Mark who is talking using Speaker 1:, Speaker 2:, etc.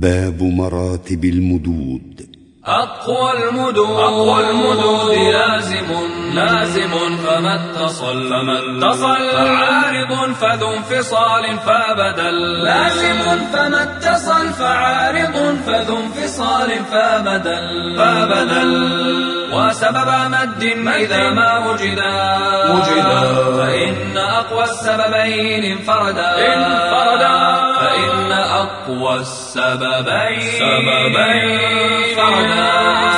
Speaker 1: باب مراتب المدود
Speaker 2: أقوى المدود أقوى المدود لازم لازم فما اتصل فما اتصل فعارض فذو انفصال فبدل لازم فما اتصل فعارض فذو انفصال فبدل فبدل وسبب مد إذا ما وجدا وجدا فإن أقوى السببين انفردا انفردا فإن أقوى السببين سببين انفردا